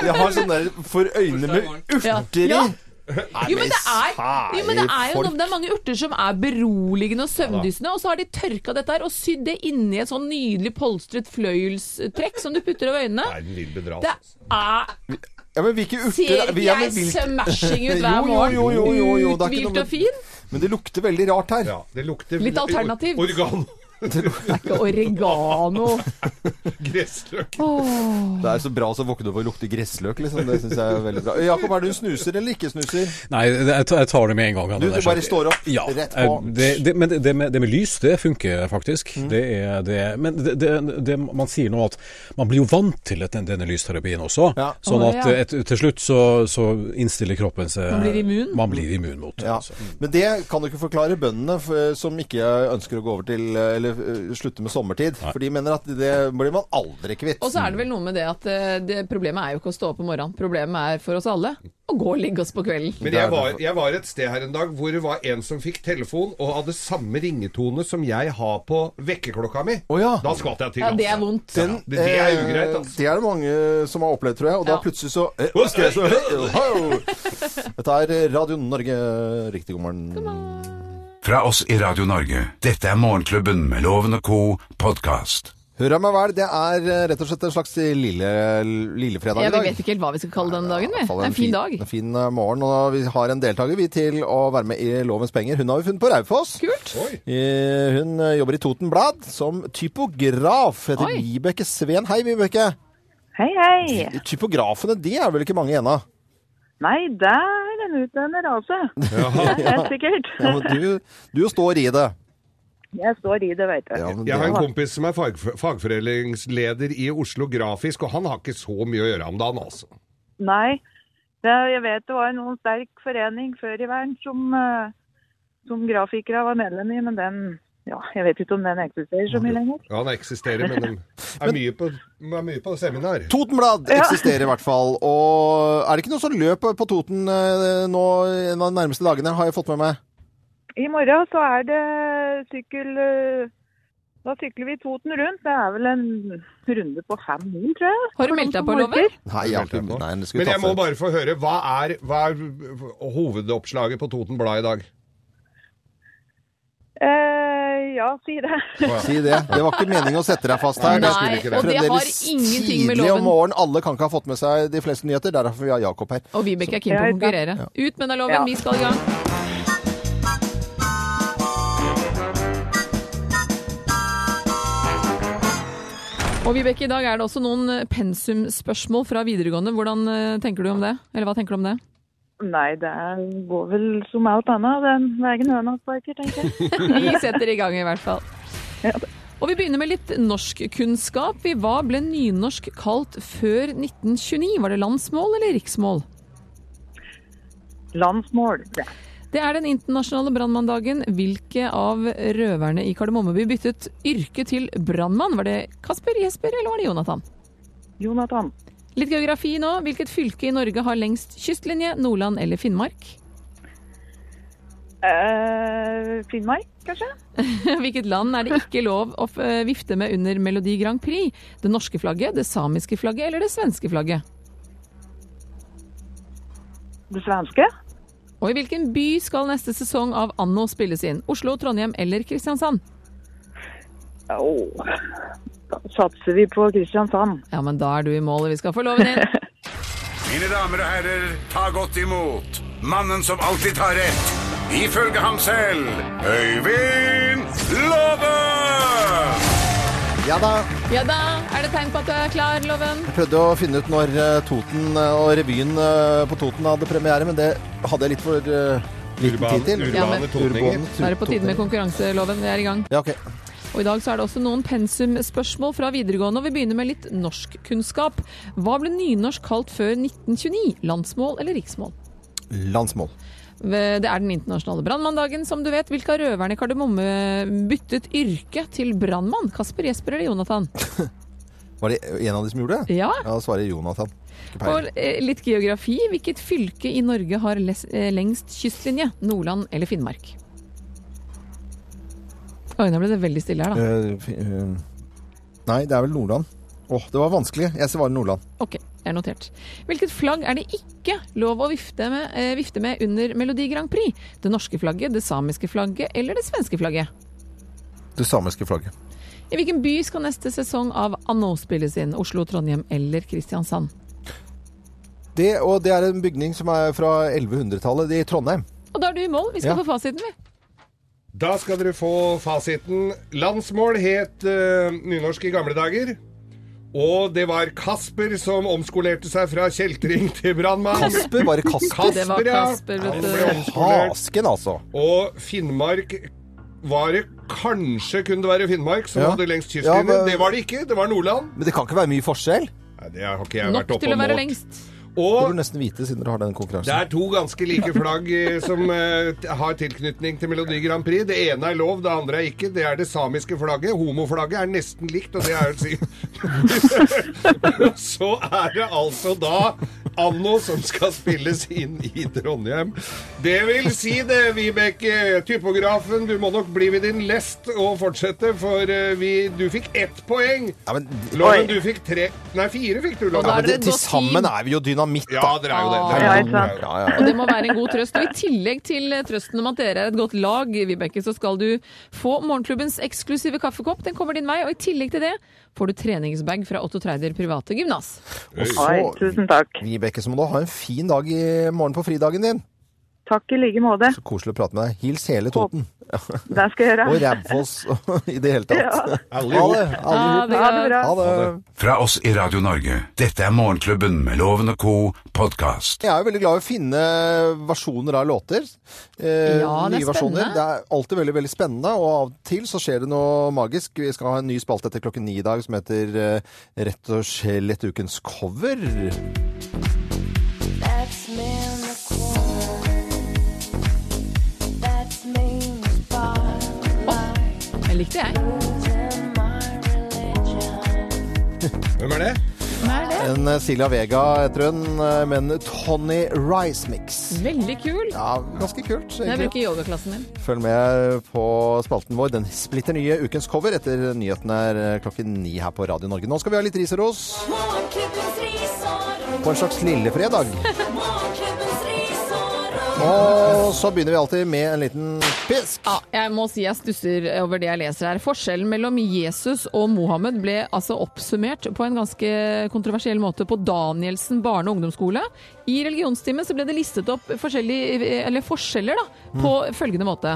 B: Jeg har sånn der for øynene med
C: Ja.
B: urter i.
C: Ja.
B: Nei,
C: Jo, men det er, jo, men det er jo
B: folk.
C: noe, det er mange urter som er beroligende og søvndyssende, og så har de tørka dette her og sydd det inni et sånn nydelig polstret fløyelstrekk som du putter over øynene.
D: Verden vil bedra
C: Det
D: oss.
C: er
B: Ja, men hvilke urter
C: Ser
B: vi-
C: ikke
B: ja, men
C: jeg
B: hvilke-
C: smashing ut
B: *laughs* Jo,
C: hver
B: jo,
C: morgen?
B: jo, jo, jo, jo, det er ikke noe
C: Uthvilt
B: med-
C: og fin?
B: Men det lukter veldig rart her.
D: Ja, det lukter
C: Litt alternativt.
D: Organ.
C: Det er ikke oregano.
B: *laughs*
D: Gressløk.
B: Det er så bra å våkne opp og lukte gressløk, liksom. Det syns jeg er veldig bra. Jakob, er du snuser eller ikke snuser?
E: Nei, det- jeg tar- jeg tar det med en gang.
B: Du,
E: Anders.
B: du bare står opp,
E: Ja,
B: rett
E: eh,
B: på. Mm.
E: Det, det, men det, det, med, det med lys, det funker faktisk. Det er, det, men det, det, det man sier nå at man blir jo vant til et- denne lysterapien også.
B: Ja.
E: Sånn
C: Å,
E: at
C: ja.
E: eh, et, til slutt så, så innstiller kroppen seg
C: Man blir immun?
E: Man blir immun mot det.
B: Ja.
E: Altså.
B: Men det kan du ikke forklare bøndene f- som ikke ønsker å gå over til eller eh, slutte med sommertid. For de mener at det blir man aldri kvitt.
C: Og så er det vel noe med det at eh, det, problemet er jo ikke å stå opp om morgenen, problemet er for oss alle å gå og ligge oss på kvelden.
D: Men jeg var, jeg var et sted her en dag hvor det var en som fikk telefon og hadde samme ringetone som jeg har på vekkerklokka mi.
B: Å ja.
D: Da skvatt jeg til.
C: Ja, det er
D: altså.
C: vondt.
B: Den,
D: Det- det er jo
B: eh,
D: greit, altså.
B: Det er det mange som har opplevd, tror jeg. Og da
C: Ja.
B: plutselig så eh, hva skal jeg så eh, ho! Dette er Radio Norge. Riktig god morgen.
A: Fra oss i Radio Norge. Dette er Morgenklubben med Loven og co. podkast.
B: Hør meg vel, det er eh, rett og slett en slags lille, lillefredag
C: Ja,
B: i
C: vi
B: dag.
C: vet ikke helt hva vi skal kalle den dagen, vi.
B: hvert fall
C: Det er en fin dag.
B: En fin eh, morgen, og vi har en deltaker vi til å være med i Lovens penger. Hun har vi funnet på Raufoss.
C: Kult.
D: Oi.
B: Eh, Hun eh, jobber i Toten Blad som typograf. Heter
C: Oi.
B: Vibeke Sveen. Hei, Vibeke.
J: Hei, hei.
B: Typografene, de er vel ikke mange ennå?
J: Nei, der er en utdanner, altså. Det er helt sikkert.
B: Ja, men du, du står i det.
J: Jeg står i det, vet du.
B: Ja, men
D: Jeg har en
B: det-
D: kompis som er fag, fagforeningsleder i Oslo Grafisk, og han har ikke så mye å gjøre om dagen, altså.
J: Nei, det, jeg vet det var noen sterk forening før i verden som, eh, som grafikere var medlem i, men den, ja, jeg vet ikke om den eksisterer så mye lenger.
D: Ja, han eksisterer, men de er mye på, de er mye på seminar.
B: Toten Blad eksisterer i hvert fall. Og er det ikke noe sånn løp på Toten eh, nå en av de nærmeste dagene, har jeg fått med meg?
J: I morgen så er det sykkel... eh, Da sykler vi Toten rundt. Det er vel en runde på fem mil, tror jeg.
C: Har du
J: for
C: meldt
J: noen
C: deg på,
J: som
C: Loven?
J: orker.
B: Nei, jeg har ikke
D: Men
B: Nei, det skulle
D: jeg
B: tatt
D: må
B: seg.
D: bare få høre, hva er, hva er hovedoppslaget på Toten Blad i dag?
J: Eh,
K: ja, si det.
J: *laughs*
B: Si det. Det var ikke meningen å sette deg fast her.
K: Nei, det skulle ikke det. og det har
B: Fremdeles
K: ingenting med
B: tidlig om
K: loven.
B: morgenen. Alle kan ikke ha fått med seg de fleste nyheter. Det er Derfor vi har Jakob her.
C: Og Vibeke er keen på å konkurrere. Ut med den loven,
B: Ja.
C: vi skal i gang. Og Vibeke, i dag er det også noen eh, pensumspørsmål fra videregående. Hvordan eh, tenker du om det? Eller hva tenker du om det?
K: Nei, det er- går vel som alt annet. Den veien høna sparker, tenker
C: *laughs*
K: jeg.
C: Vi setter i gang i hvert fall. Og vi begynner med litt norskkunnskap. I Hva ble nynorsk kalt før 1929? Var det landsmål eller riksmål?
K: Landsmål. Ja.
C: Det er den internasjonale brannmanndagen. Hvilke av røverne i Kardemommeby byttet yrke til brannmann? Var det Kasper, Jesper eller var det Jonathan?
K: Jonathan.
C: Litt geografi nå. Hvilket fylke i Norge har lengst kystlinje? Nordland eller Finnmark? *laughs*
K: Eh, Finnmark, kanskje?
C: Hvilket land er det ikke lov å eh, vifte med under Melodi Grand Prix? Det norske flagget, det samiske flagget eller det svenske flagget?
K: Det svenske?
C: Og i hvilken by skal neste sesong av Anno spilles inn? Oslo, Trondheim eller Kristiansand?
K: Åh. Da satser vi på Kristiansand.
C: Ja, men da er du i mål, og vi skal få loven inn.
A: Mine damer og herrer, ta godt imot mannen som alltid tar rett. Ifølge ham selv Øyvind Låve!
B: Ja da.
C: Ja da, er det tegn på at du er klar, Loven?
B: Jeg prøvde å finne ut når eh, Toten eh, og revyen eh, på Toten hadde premiere, men det hadde jeg litt for eh, liten
D: Urbane-
B: tid til.
D: urbane Ja, men- totninger.
B: Urbane
C: Da er det på tide med konkurranseloven. Vi er i gang.
B: Ja, ok.
C: Og I dag så er det også noen pensumspørsmål fra videregående, og vi begynner med litt norskkunnskap. Hva ble nynorsk kalt før 1929? Landsmål eller riksmål?
B: Landsmål.
C: Det er den internasjonale brannmanndagen, som du vet. Hvilke av røverne i Kardemomme byttet yrke til brannmann? Kasper, Jesper eller Jonathan?
B: Var det en av de som gjorde det?
C: Ja.
B: Ja, da svarer Jonathan. Ikke peiling.
C: Og eh, litt geografi. Hvilket fylke i Norge har les, eh, lengst kystlinje? Nordland eller Finnmark? Oi, nå ble det veldig stille her, da.
B: Eh, fi- eh, Nei, det er vel Nordland. Åh, det var vanskelig. Jeg svarer Nordland.
C: Ok, det er notert. Hvilket flagg er det ikke lov å vifte med, eh, vifte med under Melodi Grand Prix? Det norske flagget, det samiske flagget eller det svenske flagget?
B: Det samiske flagget.
C: I hvilken by skal neste sesong av Anno spilles inn? Oslo, Trondheim eller Kristiansand?
B: Det, og det er en bygning som er fra 1100-tallet i Trondheim.
C: Og da er du i mål. Vi skal
B: Ja.
C: få fasiten, vi.
D: Da skal dere få fasiten. Landsmål het eh, nynorsk i gamle dager. Og det var Kasper som omskolerte seg fra kjeltring til brannmann.
B: Kasper, bare Kasper.
D: Kasper,
B: Det var
D: ja.
B: Kasper, vet
D: Han
B: du.
D: ble omskolert.
B: Hasken, altså.
D: Og Finnmark var det kanskje kunne det være Finnmark som
B: Ja.
D: hadde lengst
B: Ja,
D: kystlinje.
B: men-
D: Det var det ikke. Det var Nordland.
B: Men det kan ikke være mye forskjell?
D: Nei, det har ikke jeg vært oppe
C: til å
D: og
C: være
D: målt.
C: lengst.
B: Det
D: Og
B: burde du nesten vite siden dere har den konkurransen.
D: Det er to ganske like flagg eh, som eh, t- har tilknytning til Melodi Grand Prix. Det ene er lov, det andre er ikke. Det er det samiske flagget. Homoflagget er nesten likt, og det er jo si- *laughs* Så er det altså da Anno som skal spilles inn i Trondheim. Det vil si det, Vibeke. Typografen, du må nok bli ved din lest og fortsette, for eh, vi, du fikk ett poeng.
B: Ja, men,
D: Loven, du fikk tre Nei, fire fikk du, Loven.
B: Ja, men det, til sammen er vi jo dynamitt, da.
D: Ja, dere er jo det. Dere er
B: Ja,
D: jo
B: ikke sant?
D: det.
B: Ja,
C: Og det må være en god trøst. Og I tillegg til eh, trøsten om at dere er et godt lag, Vibeke, så skal du få morgenklubbens eksklusive kaffekopp. Den kommer din vei. Og i tillegg til det får du treningsbag fra Otto Treider private gymnas.
B: Og
K: Oi, tusen takk.
B: Vibeke, så må du ha en fin dag i morgen på fridagen din.
K: Takk i like måte.
B: Koselig å prate med deg. Hils hele Toten.
K: Det skal jeg gjøre.
B: Og Rævfoss *laughs* og i det hele tatt. *laughs*
K: Ja.
B: Alle i hop.
K: Ha det bra.
B: Ha det.
A: Fra oss i Radio Norge, dette er Morgenklubben med Loven og co. podkast.
B: Jeg er jo veldig glad i å finne versjoner av låter. Eh,
A: Ja, det er
B: nye versjoner.
A: spennende.
B: Det er alltid veldig veldig spennende, og av og til så skjer det noe magisk. Vi skal ha en ny spalte etter klokken ni i dag som heter eh, Rett og slett ukens cover.
G: That's me in the corner. That's me in the
C: Jeg likte jeg.
D: Hvem er det?
B: En eh, Silja Vega heter hun, eh, med en Tony Rice-mix.
C: Veldig kul.
B: Ja, ganske kult.
C: Jeg
B: egentlig.
C: bruker yogaklassen din.
B: Følg med på spalten vår, den splitter nye ukens cover etter nyhetene er eh, klokken ni her på Radio Norge. Nå skal vi ha litt ris og ros på en slags lillefredag.
G: Morgenklubbens ris og ros.
B: Og Og så begynner vi alltid med en liten pisk.
C: Ja, jeg må si jeg stusser over det jeg leser her. Forskjellen mellom Jesus og Mohammed ble altså oppsummert på en ganske kontroversiell måte på Danielsen barne- og ungdomsskole. I religionstimen så ble det listet opp forskjellige- eller forskjeller da, på følgende måte.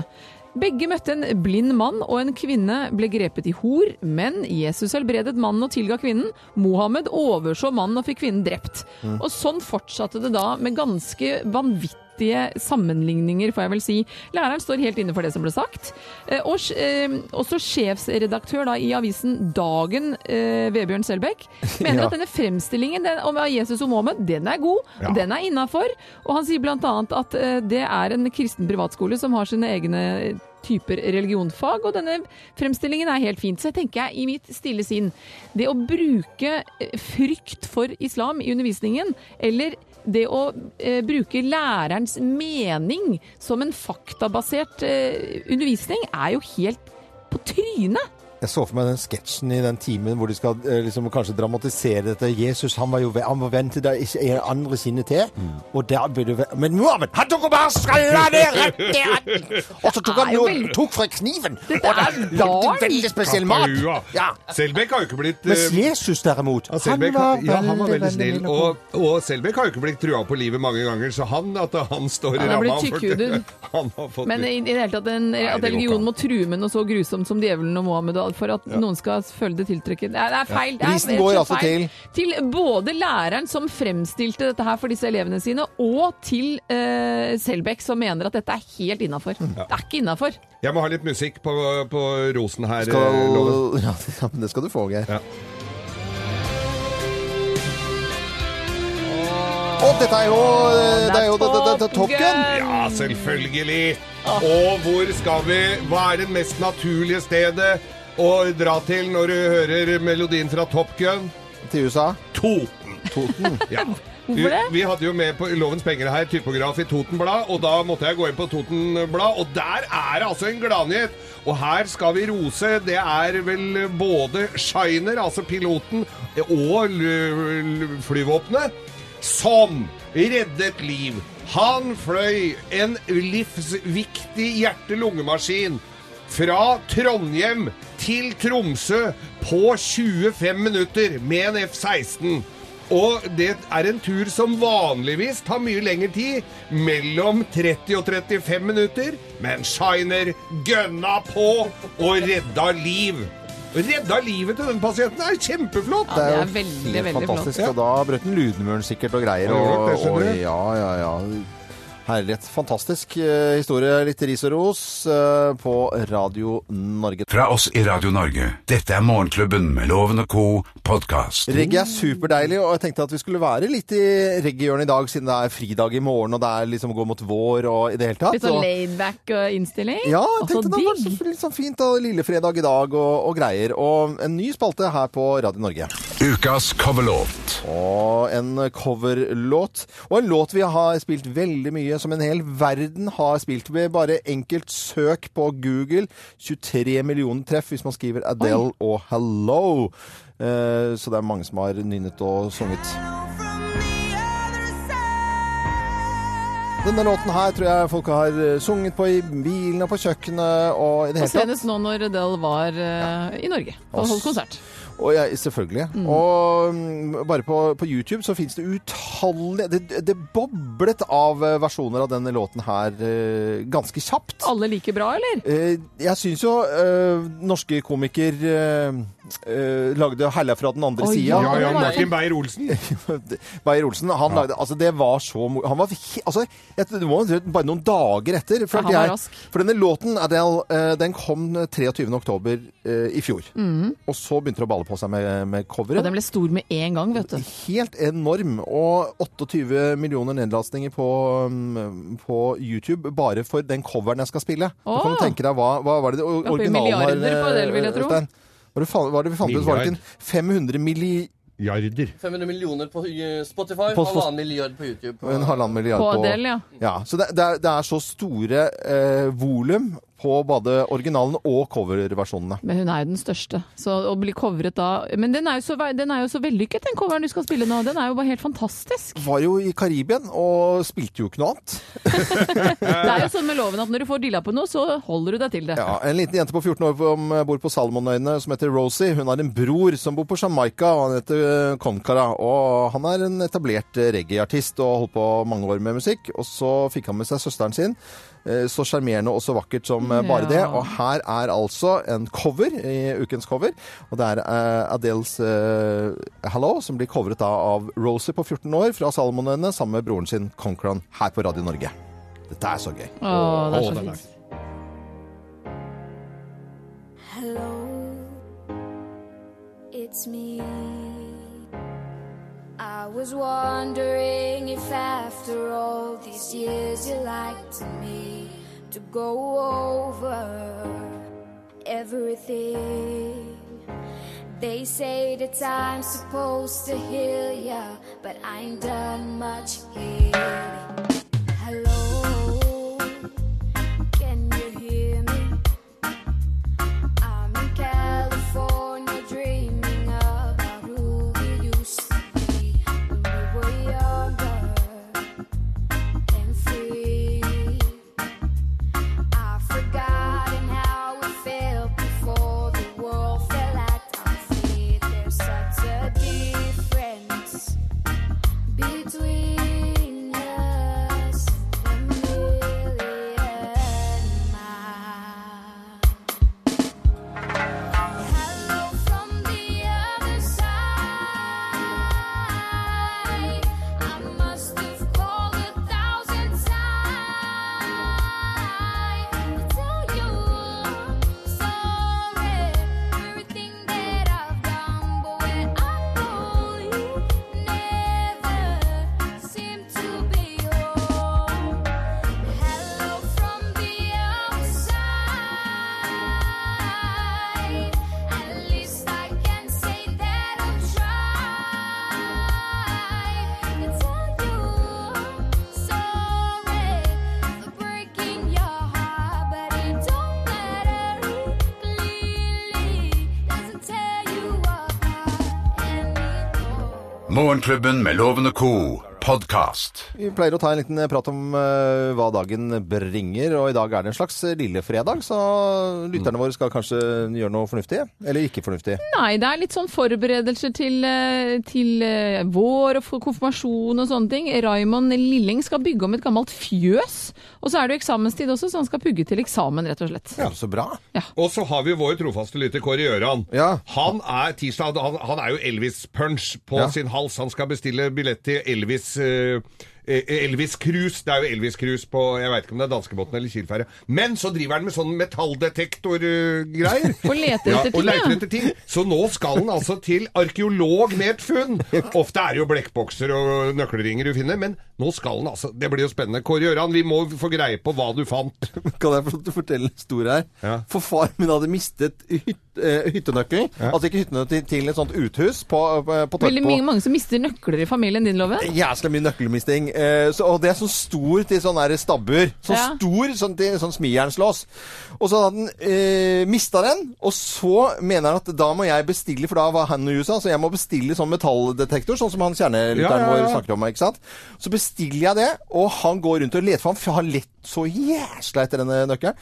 C: Begge møtte en blind mann og en kvinne ble grepet i hor, men Jesus helbredet mannen og tilga kvinnen. Mohammed overså mannen og fikk kvinnen drept.
L: Mm.
C: Og sånn fortsatte det da med ganske vanvittige sammenligninger, får jeg vel si. Læreren står helt inne for det som ble sagt. Eh, Og, sj- eh, også sjefsredaktør da, i avisen Dagen, eh, Vebjørn
L: *laughs*
C: Selbekk,
L: Ja.
C: mener at denne fremstillingen den, om Jesus og Mohammed, den er god,
L: Ja.
C: den er innafor. Og han sier bl.a. at eh, det er en kristen privatskole som har sine egne typer religionfag, og denne fremstillingen er helt fint. Så jeg tenker jeg i mitt stille sinn, det å bruke eh, frykt for islam i undervisningen, eller det å eh, bruke lærerens mening som en faktabasert eh, undervisning, er jo helt på trynet.
B: Jeg så for meg den sketsjen i den timen hvor de skal eh, liksom, kanskje dramatisere dette. Jesus han var jo ve- han var venn til deg, ikke en andre sine til.
D: Mm.
B: Og der ble du ve- Men Mohammed, han tok og bare skalla det rett i hatten!
D: *laughs*
B: Og så tok han
D: Det er jo
B: jo
D: veldig-
B: tok fra kniven! Og det er veldig spesiell mat! Ja.
D: Selbekk har jo ikke blitt
B: Mens
D: eh,
B: Jesus derimot,
D: ja,
B: han
D: Selbekk,
B: var
D: ja, han var veldig
B: snill
D: snill. Og, og Selbekk har jo ikke blitt trua på livet mange ganger, så han at han står i
C: Han har
D: ramma
C: blitt
D: for-
C: tykkhudet.
D: *laughs* Han har fått
C: Men i, i det hele tatt en,
D: Nei,
C: at
D: det går ikke
C: religionen må true med noe så grusomt som djevelen og Mohammed og alt for at
D: Ja.
C: noen skal føle det tiltrykket. Det er, det er feil.
B: Ja.
C: Det er
B: Prisen
C: rett og
B: går
C: slett
B: altså
C: feil. Til både læreren som fremstilte dette her for disse elevene sine, og til eh, Selbekk som mener at dette er helt innafor. Det er ikke innafor.
D: Jeg må ha litt musikk på, på rosen her.
B: Skal,
D: eh, Loven.
B: *laughs* ja, men det skal du få, Geir. Og dette er jo eh, Det er jo det, det, det, Tokken!
D: Ja, selvfølgelig. Og hvor skal vi? Hva er det mest naturlige stedet å dra til når du hører melodien fra Top Gun?
B: Til USA?
D: Toten.
B: Toten?
D: ja.
C: Hvorfor det?
D: Vi, vi hadde jo med på Lovens penger her typograf i Toten Blad, og da måtte jeg gå inn på Toten Blad, og der er det altså en gladnyhet! Og her skal vi rose. Det er vel både Shiner, altså piloten, og l- l- flyvåpenet, som reddet liv. Han fløy en livsviktig hjerte-lungemaskin fra Trondheim til Tromsø på 25 minutter med en F-16. Og det er en tur som vanligvis tar mye lengre tid, mellom 30 og 35 minutter, men Shiner gønna på og redda liv. Redda livet til den pasienten. Det er kjempeflott!
B: Det er, jo helt fantastisk. Og da brøt den Ludemuren sikkert og greier.
D: Han gjorde
B: Og,
D: det, skjønner
B: og
D: du.
B: ja, ja, ja. Herlighet. Fantastisk eh, historie. Litt ris og ros eh, på Radio Norge.
A: Fra oss i Radio Norge, dette er Morgenklubben med Loven og Co. podkast.
B: Reggae er superdeilig, og jeg tenkte at vi skulle være litt i reggae-hjørnet i dag, siden det er fridag i morgen, og det er liksom går mot vår og i det hele tatt.
C: Litt sånn
B: og-
C: laidback innstilling. Altså,
B: altså- Ja, jeg
C: Og så
B: tenkte det var så- litt sånn fint, og lillefredag i dag og, og greier. Og en ny spalte her på Radio Norge.
A: Ukas coverlåt.
B: Og en coverlåt. Og en låt vi har spilt veldig mye, som en hel verden har spilt ved. Bare enkelt søk på Google. 23 millioner treff hvis man skriver Adele og Hello. Eh, Så det er mange som har nynnet og sunget. Denne låten her tror jeg folk har eh, sunget på i bilen og på kjøkkenet og i det
C: Og
B: hele tatt.
C: senest nå når Adele var eh, i Norge og
B: Oss.
C: holdt konsert.
B: Og jeg, selvfølgelig. Og mm, bare på, på YouTube så fins det utallige det, det boblet av eh, versjoner av denne låten her eh, ganske kjapt.
C: Alle like bra, eller?
B: Eh, jeg syns jo eh, norske komiker eh, eh, lagde 'Herla fra den andre
D: Oi, ja,
B: sida'.
D: ja, Ja,
B: *laughs*
D: Martin Beyer-Olsen.
B: Beyer-Olsen. Han lagde Altså, det var så mo- Han var he- Altså, jeg, det var jo bare noen dager etter. For,
C: Ja, han
B: at
C: var
B: jeg-
C: rask.
B: for denne låten, Adele, eh, den kom 23. oktober eh, i fjor.
C: Mhm.
B: Og så begynte det å balle på seg med, med
C: Og
B: coveret.
C: den ble stor med en gang, vet du.
B: Helt enorm. Og 28 millioner nedlastninger på, mm, på YouTube bare for den coveren jeg skal spille.
C: Åh.
B: Du kan du tenke deg hva, hva var det det o-
C: Oppe i
B: originalen var, eh,
C: milliarder på det, vil jeg tro.
B: Øystein? Hva er det fa- hva er det vi fant ut? Var det ikke en 500
D: milliarder?
M: 500 millioner på eh, Spotify,
B: På Spot-
M: halvannen milliard på YouTube.
B: En halvannen milliard
M: På
B: på,
M: Adele, ja.
B: Så det, det, er, det er så store eh, volum på både originalen og coverversjonene.
C: Men hun er jo den største. Så å bli covret da Men den er jo så, den er jo så vellykket, den coveren du skal spille nå. Den er jo bare helt fantastisk.
B: Var jo i Karibien og spilte jo ikke noe annet.
C: Det er jo sånn med loven at når du får dilla på noe, så holder du deg til det.
B: Ja, en liten jente på 14 år som bor på Salomonøyene som heter Rosie. Hun har en bror som bor på Jamaica, og han heter eh, Konkara. Og han er en etablert eh, reggae-artist og holdt på mange år med musikk. Og så fikk han med seg søsteren sin. eh, Så sjarmerende og så vakkert som eh, bare det.
C: Ja.
B: Og her er altså en cover, eh, ukens cover. Og det er eh, Adele's eh, Hello, som blir covret da av Rosie på 14 år fra Salomonøyene sammen med broren sin Konkaran her på Radio Norge. Dette er så gøy.
C: Å, det er så
B: Å,
C: fint.
G: Hello, it's me. I was wondering if after all these years you liked me to go over everything. They say that I'm supposed to heal ya, but I ain't done much healing. Hello, can you hear me? I'm in California dreaming about who we used to be when we were younger and free. I've forgotten how it felt before the world fell at our feet. There's such a difference between us and a million miles. Hello from the other side. I must have called a thousand times to tell you sorry everything that I've done, but when I call you, never seem to be home. Hello from the other side. At least I can say that I've tried to tell you sorry for breaking your heart, but it don't matter. Clearly doesn't tear you apart anymore.
A: Morgenklubben med Loven og Co. podkast.
B: Vi pleier å ta en liten prat om eh, hva dagen bringer, og i dag er det en slags eh, lille fredag, så lytterne våre skal kanskje gjøre noe fornuftig, eller ikke fornuftig.
C: Nei, det er litt sånn forberedelser til, eh, til eh, vår og for- konfirmasjon og sånne ting. Raymond Lilling skal bygge om et gammelt fjøs, og så er det jo eksamenstid også, så han skal pugge til eksamen, rett og slett.
B: Ja, så bra.
D: Og så har vi vår trofaste lytter Kåre Gjøran. Han er tirsdag, han, han er jo Elvis-punch på
B: Ja.
D: sin hals. Han skal bestille billett til Elvis eh, eh, Elvis Cruise. Det er jo Elvis Cruise på jeg veit ikke om det er danskebåten eller Kielferja. Men så driver han med sånn metalldetektor-greier.
C: *laughs* Og leter etter ting,
D: og leter
C: ja.
D: etter ting. Så nå skal han altså til arkeolog med et funn. Ofte er det jo blekkbokser og nøkkelringer du finner, men nå skal han altså Det blir jo spennende. Kåre Gjøran, vi må få greie på hva du fant.
B: Kan jeg få lov til å fortelle en historie her? For far min hadde mistet hyt, eh, hyttenøkkelen, altså ikke hyttenøkkelen til et sånt uthus på, på, på
C: Veldig
B: Torpo.
C: mye, mange som mister nøkler i familien din, Loven.
B: Jæsla mye nøkkelmisting. Eh, så, og det er sånn stor til sånn der stabbur. Sånn
C: Ja.
B: stor sånn til sånn smijernslås. Og så hadde han eh, mista den, og så mener han at da må jeg bestille, for da var han i USA, så jeg må bestille sånn metalldetektor, sånn som han
D: Ja,
B: kjernelytteren
D: ja, ja.
B: vår snakker om, ikke sant. Så bestiller jeg det, og han går rundt og leter, for han har lett så jæsla etter denne nøkkelen.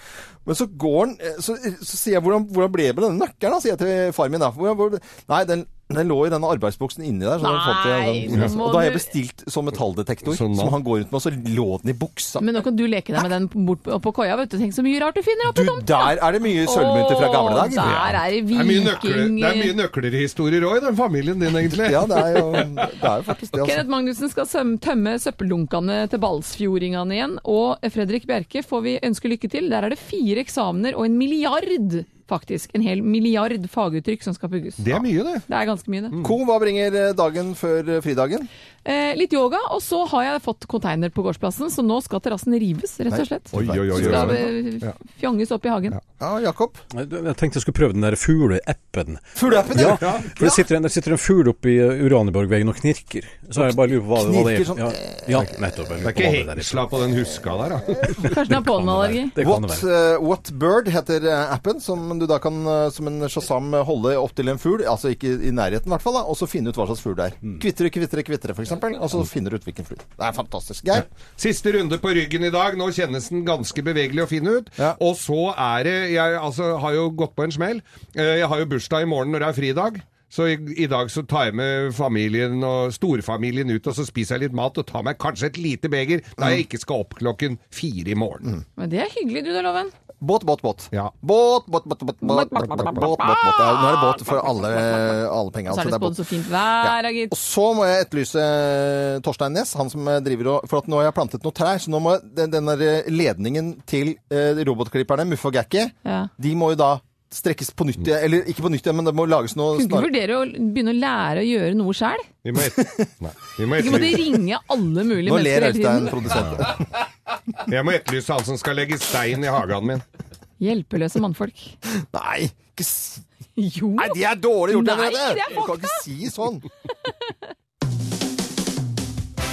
B: Men så går han eh, Så, så sier jeg hvordan, 'Hvordan ble det med denne nøkkelen?' da?" sier jeg til far min. da. Hvordan, hvordan, nei, den, den lå i denne arbeidsbuksen inni der. Så den fant jeg,
C: Nei, nå
B: sånn.
C: må
B: Og da har jeg
C: du-
B: bestilt sånn metalldetektor
D: Sånn da.
B: som han går rundt med, og så lå den i buksa.
C: Men nå kan du leke deg med den bort på- oppå koia, vet du. Tenk så mye rart du finner oppi tomten.
B: Der er det mye sølvmynter fra gamle dager.
C: Der er det
D: Det er mye nøkler-
C: viking...
D: det er mye nøklerhistorier òg i den familien din, egentlig.
B: Ja, det er jo, det er jo
C: eh,
B: faktisk det.
C: Kenneth
B: Altså.
C: Magnussen skal søm- tømme søppeldunkene til Balsfjordingene igjen. Og Fredrik Bjerke får vi ønske lykke til. Der er det fire eksamener og en milliard faktisk. En hel milliard faguttrykk som skal pugges.
B: Det er mye, det.
C: Det er ganske mye, det.
B: Co, hva bringer eh, dagen før eh, fridagen?
C: Eh, litt yoga, og så har jeg fått konteiner på gårdsplassen, så nå skal terrassen rives, rett og
E: Nei.
C: slett.
E: Oi, oi, oi, oi,
C: Skal
E: oi.
C: eh,
E: Ja.
C: fjonges opp i hagen.
B: Ja, Jakob?
E: Jeg tenkte jeg skulle prøve den der
B: *laughs*
E: fugleappen.
B: Fugleappen,
E: ja?
B: ja.
E: ja. For det sitter en, det sitter en fugl oppe i Uraniborgveggen og knirker. Så jeg bare lurer på hva, hva det er.
D: Knirker sånn,
E: Ja, ja nettopp.
D: Det er ikke hengsla på den huska der, da.
C: Kanskje den har pollenallergi.
E: Det kan det
B: What, eh, What Bird heter eh, appen, som du da kan eh, som en shazam holde opp til en fugl, altså ikke i nærheten i hvert fall, da, og så finne ut hva slags fugl det er. Kvitre, kvitre, kvitre, for eksempel, og så finner du ut hvilken fugl. Det er fantastisk. Geir?
D: *laughs* Siste runde på ryggen i dag. Nå kjennes den ganske bevegelig og fin ut. Og så er det Jeg altså, har jo gått på en smell. Eh, Jeg har jo bursdag i morgen når det er fridag. Så i, i dag så tar jeg med familien og storfamilien ut, og så spiser jeg litt mat og tar meg kanskje et lite beger da jeg ikke skal opp klokken fire i morgen.
C: Men det er hyggelig, du da, Loven.
B: Båt, båt, båt.
D: Ja.
B: Båt, båt, båt, båt, båt, båt, båt, båt, båt, båt. Det er- Nå er det båt for alle, alle penger.
C: Og så
B: altså,
C: er
B: det er
C: det
B: båt.
C: spådd så fint vær, da, gitt.
B: Og så må jeg etterlyse eh, Torstein Næss, han som driver og For at nå har jeg plantet noen trær, så nå må den, den der eh, ledningen til eh, robotklipperne, Muff og Gakki,
C: Ja.
B: de må jo da strekkes på nytt igjen. Eller ikke på nytt igjen, men det må lages noe
C: Kunne ikke
B: snar-
C: vurdere å begynne å lære å gjøre noe sjæl.
D: Vi må et... Nei. Vi må
C: Ikke måtte
D: etterlyse-
C: ringe alle mulige
D: Nå
C: mennesker
D: ler
C: hele tiden.
D: Øystein,
C: *laughs*
D: produsenten. Jeg må etterlyse han som skal legge stein i hagen min.
C: Hjelpeløse mannfolk. *laughs*
B: Nei, ikke si
C: Jo.
B: Nei, de er dårlig gjort,
C: Nei,
B: Henriette.
C: det er
B: Du kan ikke si sånn.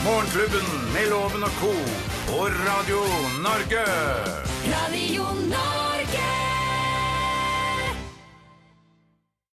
A: Morgenklubben med Loven og co. på Radio Norge.